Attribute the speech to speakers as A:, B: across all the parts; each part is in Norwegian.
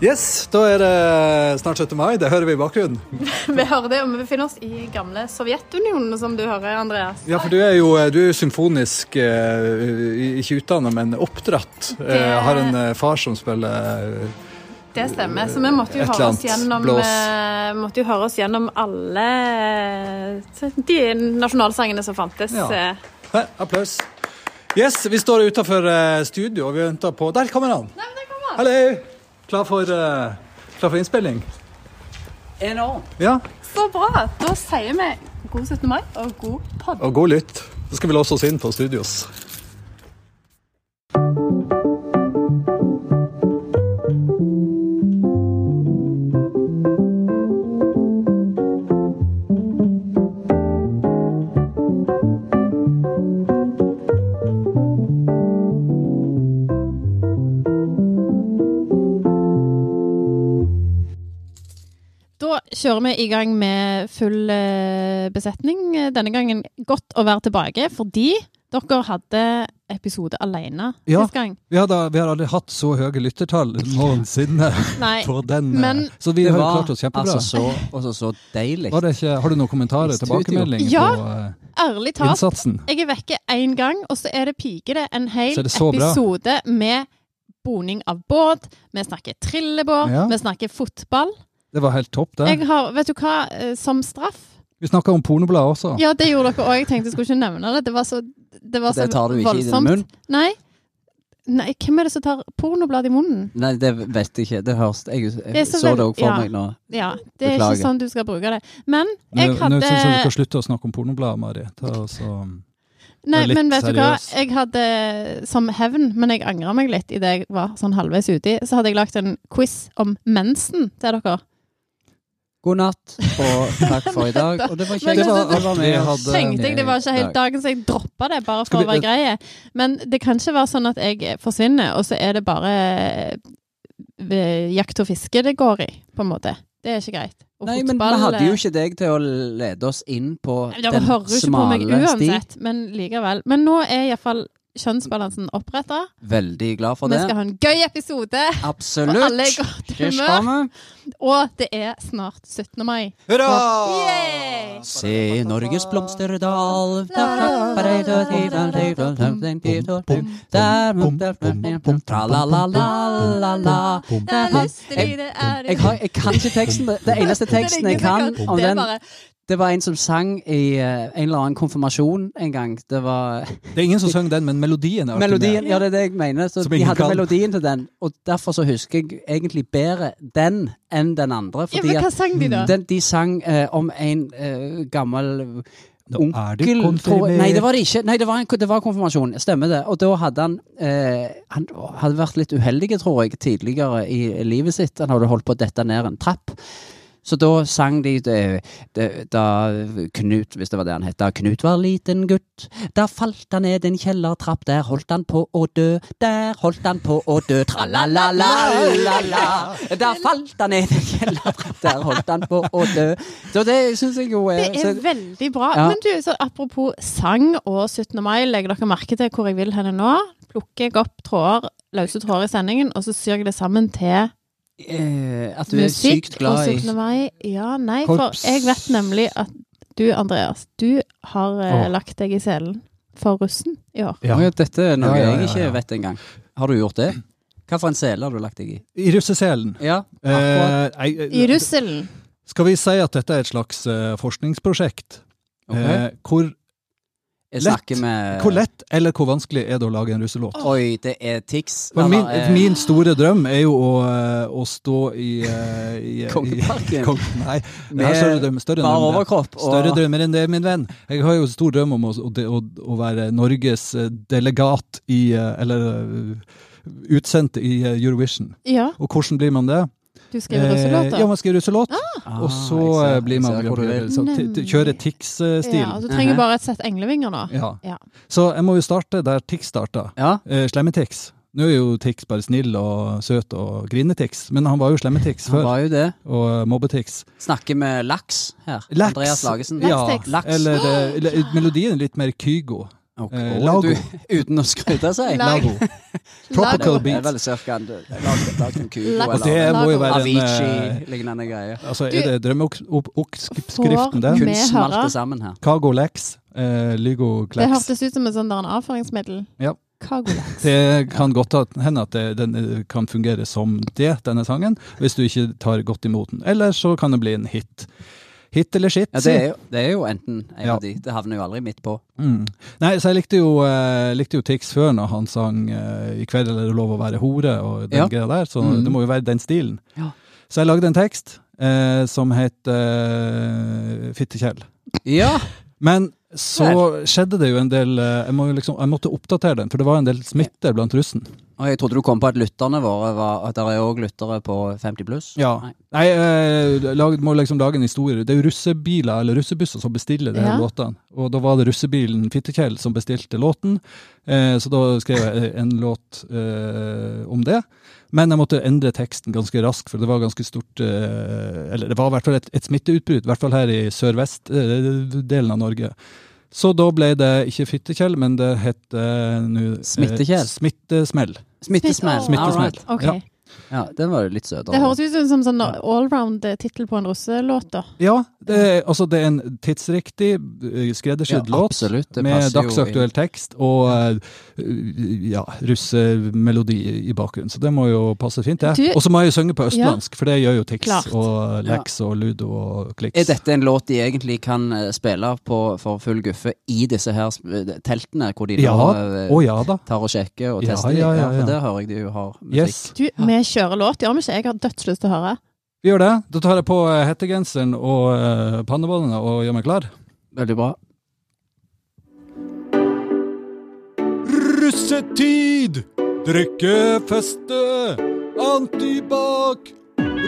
A: Yes, da er det snart 17. mai. Det hører vi i bakgrunnen.
B: Vi hører det, og vi befinner oss i gamle Sovjetunionen, som du hører, Andreas.
A: Ja, for du er jo, eh, du er jo symfonisk, eh, i- ikke utdannet, men oppdratt. Eh, Har en eh, far som spiller eh,
B: Det stemmer. Så vi måtte jo,
A: Et
B: høre oss,
A: eller annet
B: gjennom,
A: blås.
B: eh, måtte jo høre oss gjennom alle eh, de nasjonalsangene som fantes.
A: Ja.
B: eh.
A: Nei, applaus. Yes, vi står utafor studio, og vi venter på Der kommer han!
B: Nei, men der kom han!
A: Hallo! Klar for, eh, klar for innspilling?
C: Enormt.
A: Ja?
B: Så bra! Da sier vi god 17. mai og god podd.
A: Og god lytt. Så skal vi låse oss inn på studios.
D: Da kjører vi i gang med full eh, besetning. Denne gangen godt å være tilbake, fordi dere hadde episode alene
A: Ja.
D: sist gang.
A: Vi, hadde, vi har aldri hatt så høye lyttertall noensinne
D: Nei.
A: på den. eh,
D: Men-
A: så vi
C: Det
A: har jo
C: var
A: klart oss kjempebra.
C: altså så, altså så deilig.
A: Var det ikke, har du noen kommentarer,
C: Visste
A: tilbakemeldinger
D: Ja.
A: på eh,
D: Ærlig talt,
A: innsatsen?
D: jeg er vekke én gang, og så er det pike det en hel
A: Så er det så bra.
D: episode med boning av båt. Vi snakker trillebår,
A: Ja.
D: vi snakker fotball.
A: Det var helt topp, det.
D: Jeg har, vet du hva, eh, som straff
A: Vi snakka om pornobladet også.
D: Ja, det gjorde dere òg. Jeg tenkte jeg skulle ikke nevne det. Det var så, det var så
C: Det tar du ikke i din
D: voldsomt.
C: munn?
D: Nei. Nei, hvem er det som tar pornoblad i munnen?
C: Nei, det vet jeg ikke. Det høres Jeg,
D: Det er
C: jeg
D: så
C: så,
D: vel-
C: det òg for
D: ja.
C: meg nå.
D: Ja, det er
C: Beklager.
D: ikke sånn du skal bruke det. Men
A: Nå,
D: jeg hadde
A: nå syns jeg du skal slutte å snakke om pornobladet, Mari. Ta og så-
D: Nei,
A: litt
D: men vet du hva?
A: seriøs.
D: Jeg hadde eh, som hevn, men jeg angra meg litt idet jeg var sånn halvveis uti, så hadde jeg lagt en quiz om mensen til dere.
C: God natt og takk for i dag. Og det var
D: Men
C: kjekt.
D: det-
C: at du var med
A: det-
C: oss.
A: Det-
D: Tenkte jeg det var ikke helt dagen, så jeg droppa det
A: Skal
D: bare for å
A: vi-
D: være greie. Men det kan ikke være sånn at jeg forsvinner, og så er det bare eh, jakt og fiske det går i, på en måte. Det er ikke greit. Og
C: Nei, men vi
D: fotball,
C: hadde jo
D: eh,
C: ikke deg til å lede oss inn på
D: Nei, Dere
C: den
D: hører jo ikke på meg
C: smale sti.
D: uansett, men likevel. Men nå er iallfall kjønnsbalansen oppretta.
C: Veldig glad for
D: Vi
C: det.
D: skal ha en gøy episode, og alle er i
C: Absolutt.
D: godt
C: Kjørs
D: humør.
C: framme.
D: Og det er snart 17. mai.
A: Hurra!
D: Yay!
C: Se Norges blomsterdal Tra-la-la-la-la-la
D: Det er lyst til det er
C: Jeg, har, jeg kan ikke teksten. Det det eneste teksten jeg kan om
D: Det er
C: den,
D: bare
C: det var en som sang i eh, en eller annen konfirmasjon en gang. Det var
A: Det er ingen som synger den, men melodien er artig
C: melodien.
A: med.
C: Ja, det er det jeg mener. Så
A: Som
C: de
A: ingen
C: hadde
A: kan.
C: melodien til den, og derfor så husker jeg egentlig bedre den enn den andre.
D: ja,
C: Fordi
D: men Hva
C: at
D: sang de, da?
C: den, de sang eh, om en eh, gammel
A: Nå er de
C: onkel tror jeg-
A: konfirmert.
C: Nei, det var det ikke. Nei, det var, en, det var konfirmasjon. Stemmer det. Og da hadde han eh, Han hadde vært litt uheldig, tror jeg, tidligere i livet sitt. Han hadde holdt på å dette ned en trapp. Så da sang de det, det, da Knut, hvis det var det han het, da Knut var liten gutt. Da falt han ned en kjellertrapp, der holdt han på å dø. Der holdt han på å dø, tra-la-la-la-la-la. Da falt han ned en kjellertrapp, der holdt han på å dø. Så det syns jeg jo er,
D: Det er
C: Eh, så-
D: veldig bra.
C: Ja.
D: Men du, så apropos sang og 17. mai, legger dere merke til hvor jeg vil henne nå? Plukker jeg opp tråder, løse tråder i sendingen, og så syr jeg det sammen til
C: eh, At du er
D: musikk
C: sykt
D: og
C: glad i
D: 17. mai. Ja, nei, for
A: Korps.
D: jeg vet nemlig at du, Andreas, du har eh,
A: Åh.
D: lagt deg i selen for russen i år.
A: Ja.
C: Å ja, Dette er noe
A: Ja, ja, ja, ja.
C: jeg ikke vet engang. Har du gjort det? Hva for en sele har du lagt deg i?
A: I russeselen.
C: Ja, akkurat.
A: Eh, nei, eh,
D: I russelen.
A: skal vi si at dette er et slags eh, forskningsprosjekt?
C: Ok.
A: Eh, hvor,
C: Jeg snakker med
A: hvor eh, lett eller hvor vanskelig er det å lage en russelåt?
C: Oi, det er Tix.
A: For min,
C: Eller, eh,
A: min store drøm er jo å, eh, å stå i, eh, i i-
C: Kongeparken.
A: Kong, nei, jeg har
C: Med
A: større drømmer, større
C: Bare
A: drømmer.
C: overkropp. Og...
A: Større drømmer enn det, min venn. Jeg har jo stor drøm om å, å, å, å være Norges eh, delegat i eh, Eller eh, utsendt i eh, Eurovision.
D: Ja,
A: Og hvordan blir man det?
D: du skriver russelåter.
A: Eh, ja, man skriver russelåt,
C: Ah,
A: og så
C: jeg ser-
A: eh, blir
C: jeg
A: man
C: ser hvor
A: Grand
C: du
A: Prix,
C: vil.
A: så t- t- Kjører
D: Mm. Ja, altså-
A: Tix-stilen.
D: du trenger
C: Mhm.
D: bare et sett englevinger nå.
A: Ja.
D: Ja.
A: Så jeg må jo starte der Tix starta.
C: Ja,
A: Eh, Slemme-Tix. Nå er jo Tix bare snill og søt og grinetix, men han var jo Slemme-Tix
C: han
A: før.
C: var jo det.
A: Og eh, mobbe-Tix.
C: Snakker med Laks her.
A: Laks.
C: Andreas Lagesen.
A: Ja,
D: Laks-Tix.
C: Laks.
A: Eller, eh, eller melodien er eh, litt mer Kygo.
C: Ok.
A: Eh,
C: Å,
A: Lago.
C: Du, uten å skryte seg.
D: Lag-
A: Lago. Tropical
D: Lago.
C: Det er
A: Beat.
C: vel cirka en lag, lag en kubo
D: Lag-
A: Og det
C: eller
A: må jo være en eh,
C: Avicii-lignende greie.
A: Altså,
D: Du-
A: er det drømmeoppskriften,
D: Får
A: det?
D: vi-
C: Kunstmalt
D: hører-
C: det sammen her.
A: Cargo Lex, eh, Lygo
D: Det
A: Klex.
D: hørtes ut som en sånn der en avføringsmiddel.
A: Ja.
D: Kagolex.
A: Det kan godt at- hende at det, den eh, kan fungere som det, denne sangen, hvis du ikke tar godt imot den. Eller så kan det bli en hit. Hit eller shit,
C: Ja, det,
A: si.
C: er jo, det er jo enten en
A: Ja.
C: av de. Det havner jo aldri midt på.
A: Mm. Nei, så jeg likte jo, eh, likte jo Tix før når han sang eh, 'I kveld er det lov å være hore' og den
C: Ja.
A: greia der, så
C: Mm.
A: det må jo være den stilen.
C: Ja.
A: Så jeg lagde en tekst eh, som het eh, 'Fittekjell'.
C: Ja!
A: Men så skjedde det jo en del eh, jeg, må jo liksom, jeg måtte oppdatere den, for det var en del smitte blant russen.
C: Og jeg trodde du kom på at lytterne våre var At det er òg lyttere på 50 pluss.
A: Ja.
C: Nei.
A: Nei, eh, lag, må liksom lage en historie. Det er jo russebiler eller russebusser som bestiller de her
D: Ja.
A: låtene. Og da var det russebilen Fittekjell som bestilte låten, eh, så da skrev jeg en låt eh, om det. Men jeg måtte endre teksten ganske raskt, for det var ganske stort eh, Eller det var i hvert fall et, et smitteutbrudd, i hvert fall her i sørvest-delen av Norge. Så da ble det ikke Fittekjell, men det het eh, nå eh,
C: Smittekjell.
A: Smittesmell.
C: Smittesmell.
D: Smitt-
A: Smittesmell.
C: Alright.
D: Ok.
A: Ja.
C: Ja, den var jo litt altså. søtere.
D: Det høres ut som en sånn allround-tittel på en russelåt, da.
A: Ja, det er, altså det er en tidsriktig, eh, skreddersydd
C: Ja,
A: låt
C: absolutt, det
A: med
C: passer jo
A: dagsaktuell tekst og eh, ja, russemelodi i bakgrunnen. Så det må jo passe fint, det.
D: Du-
A: Og så må jeg jo synge på østlandsk, for det gjør jo Tix
D: Klart.
A: og Lex og Ludo og
C: Er
A: Klix.
C: dette en låt de egentlig kan eh, spille på for full guffe i disse her sp- teltene, hvor de
A: Ja,
C: nå
A: å
C: eh,
A: ja da.
C: tar og sjekker og
A: Ja,
C: tester?
A: ja, ja, ja.
C: For der hører jeg de jo har musikk.
A: Yes,
D: Du, vi kjører låt, gjør vi ikke? Jeg har dødslyst til å høre.
A: vi gjør det. Da tar jeg på eh, hettegenseren og eh, pannebåndene og gjør meg klar.
C: Veldig bra.
A: Russetid! Drikkefeste! Antibac!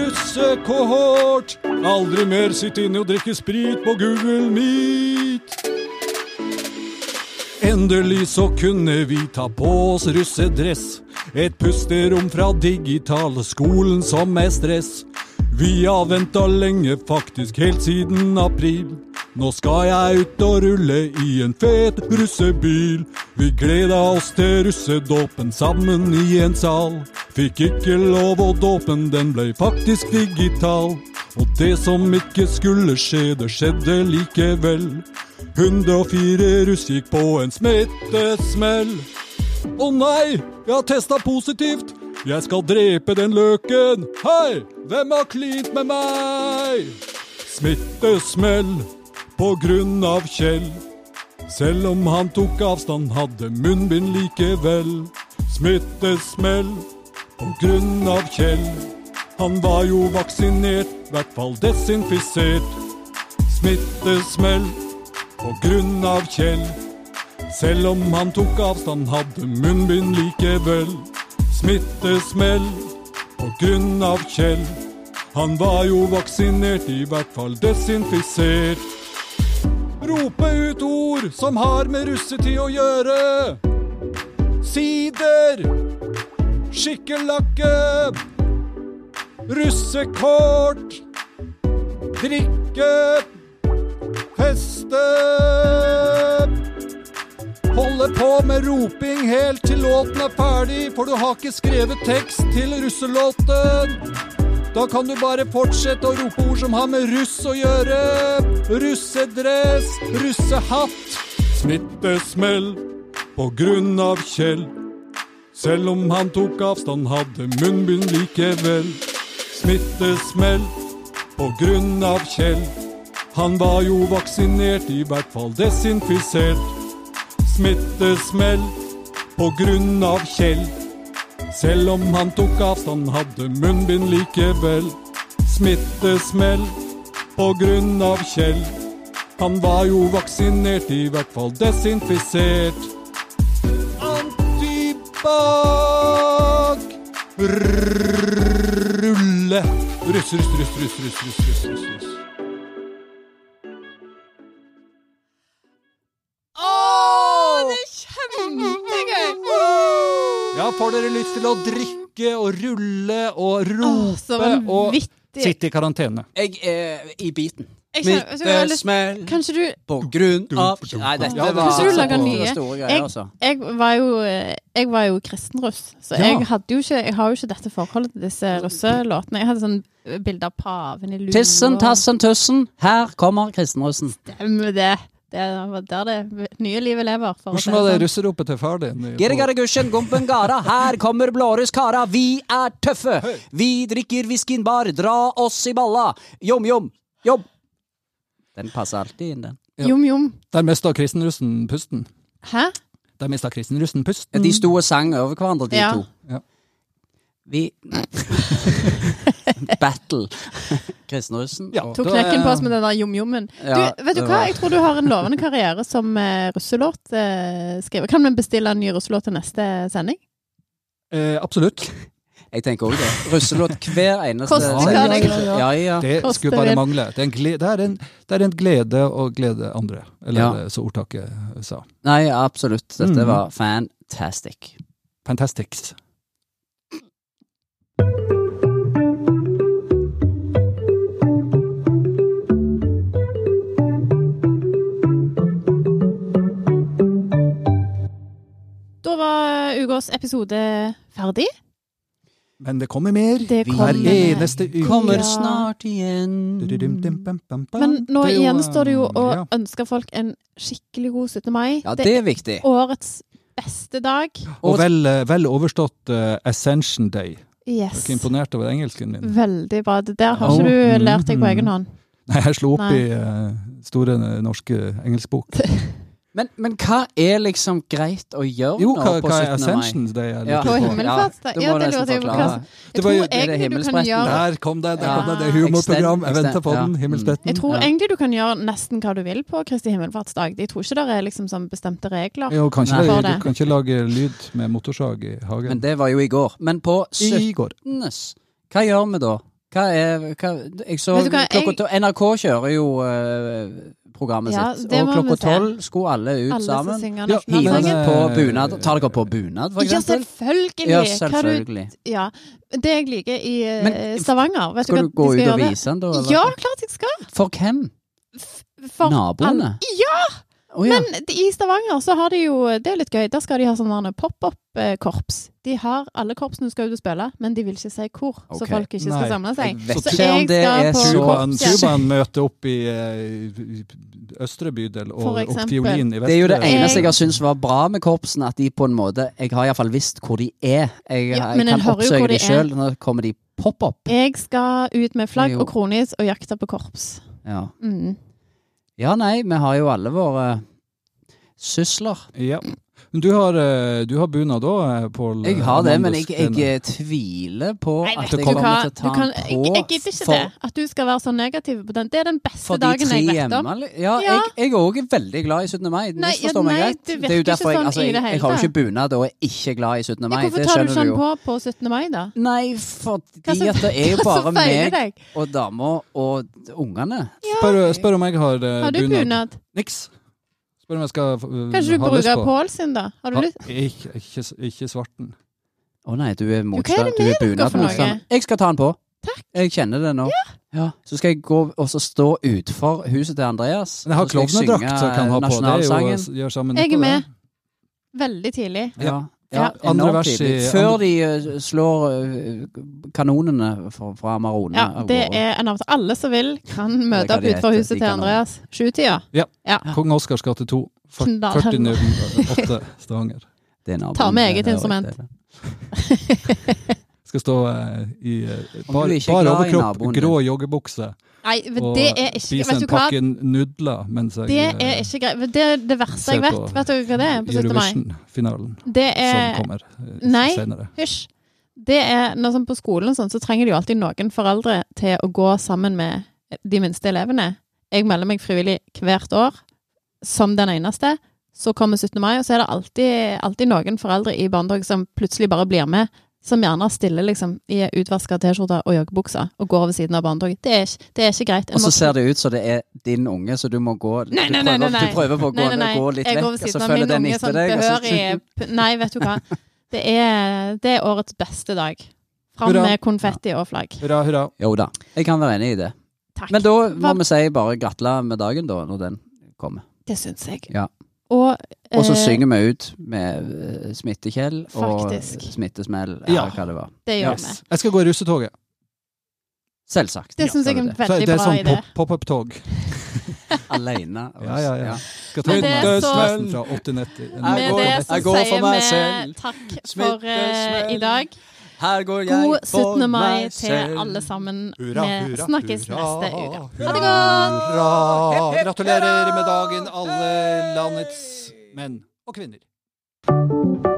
A: Russekohort! Aldri mer sitte inne og drikke sprit på Google Meet! Endelig så kunne vi ta på oss russedress. Et pusterom fra digitalskolen som er stress. Vi har venta lenge, faktisk helt siden april. Nå skal jeg ut og rulle i en fet russebil. Vi gleda oss til russedåpen sammen i en sal. Fikk ikke lov, og dåpen den blei faktisk digital. Og det som ikke skulle skje, det skjedde likevel. 104 russ gikk på en smittesmell. Å nei, jeg har testa positivt. Jeg skal drepe den løken. Hei, hvem har klint med meg? Smittesmell på grunn av Kjell. Selv om han tok avstand, hadde munnbind likevel. Smittesmell på grunn av Kjell. Han var jo vaksinert, hvert fall desinfisert. Smittesmell på grunn av Kjell. Selv om han tok avstand, hadde munnbind likevel. Smittesmell på grunn av Kjell. Han var jo vaksinert, i hvert fall desinfisert. Rope ut ord som har med russetid å gjøre. Sider. Skikkelakke. Russekort. Drikke. Feste. Holde på med roping helt til låten er ferdig, for du har ikke skrevet tekst til russelåten. Da kan du bare fortsette å rope ord som har med russ å gjøre. Russedress, russehatt. Smittesmell på grunn av Kjell. Selv om han tok avstand, hadde munnbind likevel. Smittesmell på grunn av Kjell. Han var jo vaksinert, i hvert fall desinfisert smittesmell på grunn av Kjell. Selv om han tok avstand, hadde munnbind likevel. Smittesmell på grunn av Kjell. Han var jo vaksinert, i hvert fall desinfisert. Antibac! Rulle! Russ, russ, russ, russ, russ, russ, russ, russ, russ. Ja, får dere lyst til å drikke og rulle og rope
D: Åh, så
A: og
D: vanvittig.
A: sitte i karantene?
C: Jeg er i biten.
D: Jeg skjønner, jeg
C: Mitt
D: har lyst-
C: smell
D: Kanskje du
C: på grunn av
A: Dum, dum,
C: Nei, dette
B: dum.
C: var
B: Kanskje du
D: lager
C: store,
D: nye?
C: store
D: Jeg-
C: greier, altså.
D: Jeg var jo, eh, jeg var jo kristenruss, så
C: Ja.
D: jeg, hadde jo ikke, jeg har jo ikke dette forholdet til disse russelåtene. Jeg hadde sånn bilde av paven i lue.
C: Tissen, tassen, tussen. Her kommer kristenrussen.
D: Stemmer det. Det var der det nye livet lever. For å si
A: Hvordan var det
D: sånn.
A: russeropet til far din? i-
C: Girgaragusjen, gumpen gara, her kommer blåruss kara, vi er tøffe! Vi drikker whiskyen bar, dra oss i balla! Jom, jom, jom! Den passer alltid inn, den.
A: Ja.
D: Jom, jom.
A: Der mista kristenrussen pusten.
D: Hæ?
A: Der mista kristenrussen pusten.
C: Ja, de sto og sang over hverandre, de
D: Ja.
C: to.
A: Ja.
C: Vi Battle. Kristenrussen.
A: Ja,
C: og-
D: Tok
A: Da eh,
D: knekken på oss
A: er-
D: med den der jom-jommen.
C: Ja,
D: du, vet du
C: det
D: hva?
C: var-
D: Jeg tror du har en lovende karriere som uh, russelåtskriver. kan vi bestille en ny russelåt til neste sending?
A: Eh, absolutt.
C: Jeg tenker òg det. Russelåt hver eneste
D: Koste
A: hva det
C: ja,
A: koste.
C: ja, ja.
A: Det
D: Koste
A: skulle bare
D: vel.
A: mangle. Det er en glede, det er en, det er en glede å glede andre, eller
C: Ja.
A: eh, så ordtaket sa.
C: Nei, absolutt. Dette
A: Mhm.
C: var fantastic.
A: Fantastics.
D: Da var eh, ukas episode ferdig.
A: Men det kommer mer
D: Det
A: hver
D: kommer-
A: eneste uke.
C: Kommer
D: Ja.
C: snart igjen.
D: Men nå
A: Det er jo, eh,
D: gjenstår det jo å
A: ja.
D: ønske folk en skikkelig god 17. mai.
C: Ja,
D: det
C: det er viktig.
D: er årets beste dag.
A: Og vel, eh, vel overstått eh, Ascension Day. Jeg
D: Yes.
A: er ikke imponert over engelsken min.
D: Veldig bra. Det der har
A: Ja.
D: ikke
A: Mhm.
D: du lært deg på egen hånd.
A: Nei, jeg slo opp
D: Nei.
A: i eh, Store eh, norske engelskbok.
C: Men, men hva er liksom greit å gjøre
A: Jo,
C: nå
A: hva,
C: på
A: hva er
C: 17. mai?
A: Ascension Day? Jeg lurer
C: Ja.
D: På
A: på?
D: himmelen. himmelfartsdag? Ja,
C: du må
D: det
C: nesten
D: lurte jeg på.
C: forklare.
D: Hva-
A: Det
D: Jeg
A: var
D: tror
A: jo-
C: det er
D: egentlig du kan
C: himmelspretten,
D: gjøre
A: Der kom det! Der kom det, det er
D: Ja.
A: humorprogram. Jeg
C: Extend-
A: venter på
C: ja.
A: den.
D: Jeg
A: Himmelspretten.
D: tror
C: Ja.
D: egentlig du kan gjøre nesten hva du vil på Kristi himmelfartsdag. Jeg tror ikke det er liksom sånn bestemte regler.
A: Jo, kanskje
C: Nei.
A: det,
D: For
A: du
D: det.
A: kan ikke lage lyd med motorsag i
C: Men
A: hagen.
C: det var jo i går. Men på
A: I går.
C: 17. Hva gjør vi da? Hva er hva, Jeg så
D: Vet du hva, jeg-
C: klokka to- NRK kjører jo eh, programmet
D: Ja,
C: sitt.
D: det
C: Og
D: må
C: klokka
D: vi se.
C: tolv skulle alle ut
D: Alle som
C: sammen.
D: synger
A: Ja,
C: Hives
A: Men,
D: nasjonalsangen.
A: eh,
C: på bunad. Tar dere på bunad, for
D: Ja,
C: eksempel?
D: selvfølgelig!
C: Ja,
D: Hva du
C: selvfølgelig.
D: Ja. Det jeg liker i eh,
C: Men-
D: Stavanger Vet
C: Skal
D: du
C: du
D: hva
C: gå
D: de
C: ut
D: skal
C: og
D: gjøre?
C: vise den, da? eller?
D: Ja, klart jeg skal!
C: For hvem?
D: For alle-
C: Naboene?
D: Ja!
C: Å ja.
D: Men i Stavanger så har de jo Det er litt gøy. Der skal de ha sånn pop-up-korps. De har alle korpsene skal ut og spille, men de vil ikke si hvor, så
C: Ok.
D: folk ikke skal
A: Nei.
D: samle seg.
C: Jeg vet
D: Så
C: ikke
D: jeg
C: om det
D: skal
C: er
D: på
C: så-
A: Tubaen,
D: korps. Ja.
A: tubaen møter opp i, eh, i østre bydel
D: For
A: og, og
D: eksempel.
A: fiolin i vestre.
C: Det er jo det eneste jeg
D: Jeg-
C: har syntes var bra med korpsene, at de på en måte Jeg har iallfall visst hvor de er. Jeg,
D: Ja,
C: jeg
D: men en
C: kan
D: hører jo hvor de
C: oppsøke de
D: er.
C: sjøl. Nå kommer de pop-opp.
D: Jeg skal ut med flagg
C: Jo.
D: og kronis og jakte på korps.
C: Ja.
D: Mm.
C: ja, nei, vi har jo alle våre eh, sysler.
A: Ja. Men du har, eh, du har bunad òg, Pål?
C: Jeg har det, men
A: Amandus
C: jeg, jeg
A: Stene.
C: eh, tviler på
D: Nei,
C: at
D: vet
C: jeg
D: du hva?
C: kommer til å
D: Du
C: ta
D: kan, jeg,
C: den
D: jeg
C: på
D: gidder ikke
C: for,
D: det. At du skal være så negativ på den. Det er den beste
C: for de
D: dagen
C: tre
D: jeg vet om.
C: hjemme. eller? Ja,
D: Ja.
C: jeg- jeg er òg veldig glad i 17. mai.
D: Nei, ja,
C: Misforstå meg
D: nei,
C: rett.
D: det
C: Det er jo
D: virker ikke
C: derfor jeg,
D: sånn
C: altså,
D: i
C: jeg,
D: det hele
C: jeg har jo
D: tatt.
C: ikke bunad og er ikke glad i 17.
D: Ja,
C: mai.
D: hvorfor
C: Det
D: tar du
C: skjønner
D: ikke
C: du
D: den
C: jo.
D: på på 17. mai, da?
C: Nei, fordi
D: som-
C: at det er jo
D: Hva
C: bare
D: som feiler
C: meg
D: deg?
C: og dama og ungene.
A: Spør, spør om jeg har, eh,
D: Har du bunad?
A: Niks. Spør om jeg skal eh,
D: Kanskje
C: Mm,
D: du
A: ha lyst
D: bruker
A: på.
D: Pål sin, da? Har du lyst?
A: Ha, ikke, ikke, ikke svarten.
C: Å nei, du
D: Hva
C: er
D: er
C: motstand.
D: det
C: Du er
D: dere for noe?
C: bunadmotstander. Jeg skal ta den på. Jeg kjenner det nå. Ja, Så skal jeg gå og så stå utenfor huset til
A: Men Altså,
C: Andreas.
A: jeg har
C: Så skal synge,
A: klovnedrakt som jeg kan ha på. Det er jo, eh,
C: nasjonalsangen.
A: gjør samme nytte,
D: Jeg er
A: det.
D: med. Veldig tidlig.
C: Ja.
D: Ja.
C: Ja,
A: Andre
C: enormt
A: vers i-
C: tidlig. Før de eh, slår eh, kanonene fra, fra Amarone.
D: Ja,
C: av
D: det
C: gårde.
D: er en avtale. Alle som vil, kan møte
C: hva
D: opp
C: de
D: utenfor
C: heter,
D: huset
C: de
D: til
C: kan-
D: Andreas. Sjutida.
A: Kong Oscars gate 2.
D: Knall.
A: 40.08 Stavanger.
C: Det er naboen.
D: Ta med eget
C: Det er
D: instrument.
C: riktig.
A: Skal stå eh, i eh,
C: Om
A: bar,
C: du ikke er
A: bar
C: glad i
A: overkropp,
C: naboen din.
A: grå joggebukse
D: Nei, men
A: og
D: det er ikke
A: spise
D: Vet
A: en
D: du hva?
A: pakke nudler mens jeg
D: Det
A: eh,
D: er ikke greit. Men Det er det verste
A: ser
D: jeg vet.
A: på
D: Vet du hva det er på 17. mai?
A: Eurovision-finalen
D: Det
A: som
D: er
A: kommer eh,
D: nei.
A: senere.
D: Hysj. Det er når sånn På skolen og sånn, så trenger de jo alltid noen foreldre til å gå sammen med de minste elevene. Jeg melder meg frivillig hvert år som den eneste. Så kommer 17. mai, og så er det alltid, alltid noen foreldre i barnedog som plutselig bare blir med. Som gjerne stiller liksom i utvaska T-skjorte og joggebukse og går ved siden av barnedog. Det, er ikke- det er ikke greit. Jeg
C: Og så
D: må-
C: ser det ut som det er din unge, så du må gå Du
D: Nei, nei, nei,
C: prøver-
D: nei,
C: Du
D: nei.
C: prøver på å gå,
D: Nei, nei, nei.
C: gå litt
D: jeg
C: vekk,
D: går ved
C: og så
D: siden av
C: følger
D: min
C: den
D: unge
C: etter
D: sånn
C: deg. og så-
D: behørig p- Nei, vet du hva. Det er, det er årets beste dag. Fram
A: Hurra.
D: med konfetti og flagg.
A: Hurra, hurra.
C: Jo da, jeg kan være enig i det.
D: Takk.
C: Men da må
D: Hva-
C: vi si bare gratulerer med dagen, da, når den kommer.
D: Det syns jeg.
C: Ja.
D: Og,
C: Og så
D: eh,
C: synger vi ut med eh, Smittekjell og
D: Faktisk.
C: Smittesmell,
A: Ja.
C: eller hva det var.
D: Det gjør vi.
A: Yes. Jeg skal gå i russetoget.
C: Selvsagt.
D: Det syns jeg er en
A: Så
D: veldig
A: det er
D: bra
A: sånn
D: idé.
A: pop- pop-up-tog.
C: Alene. og-
A: Ja, ja, ja. Skal ta
D: Men det er
A: den
D: så-
A: nesten fra 89 til
C: Jeg
D: Med
C: går-
D: det så
C: jeg går for
D: sier
C: meg
D: vi
C: selv.
D: takk for eh,
C: Smittesmell.
D: i dag.
C: Her går jeg
D: God
C: for
D: 17. mai
C: meg
D: til
C: selv.
D: alle sammen.
A: Hurra,
D: Vi
A: hurra,
D: snakkes
A: hurra,
D: neste uke.
A: hurra,
D: Ha
A: Hurra!
D: det godt!
A: Gratulerer med dagen, alle landets menn og kvinner.